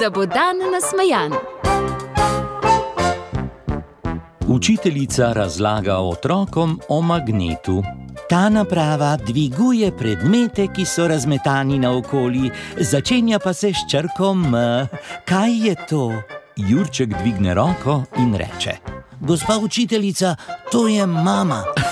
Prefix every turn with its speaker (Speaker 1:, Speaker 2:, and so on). Speaker 1: da bo dan nasmejan.
Speaker 2: Učiteljica razlaga otrokom o magnetu.
Speaker 3: Ta naprava dviguje predmete, ki so razmetani naokoli, začenja pa se s črko M. Kaj je to?
Speaker 2: Jurček dvigne roko in reče:
Speaker 3: Gospa učiteljica, to je mama.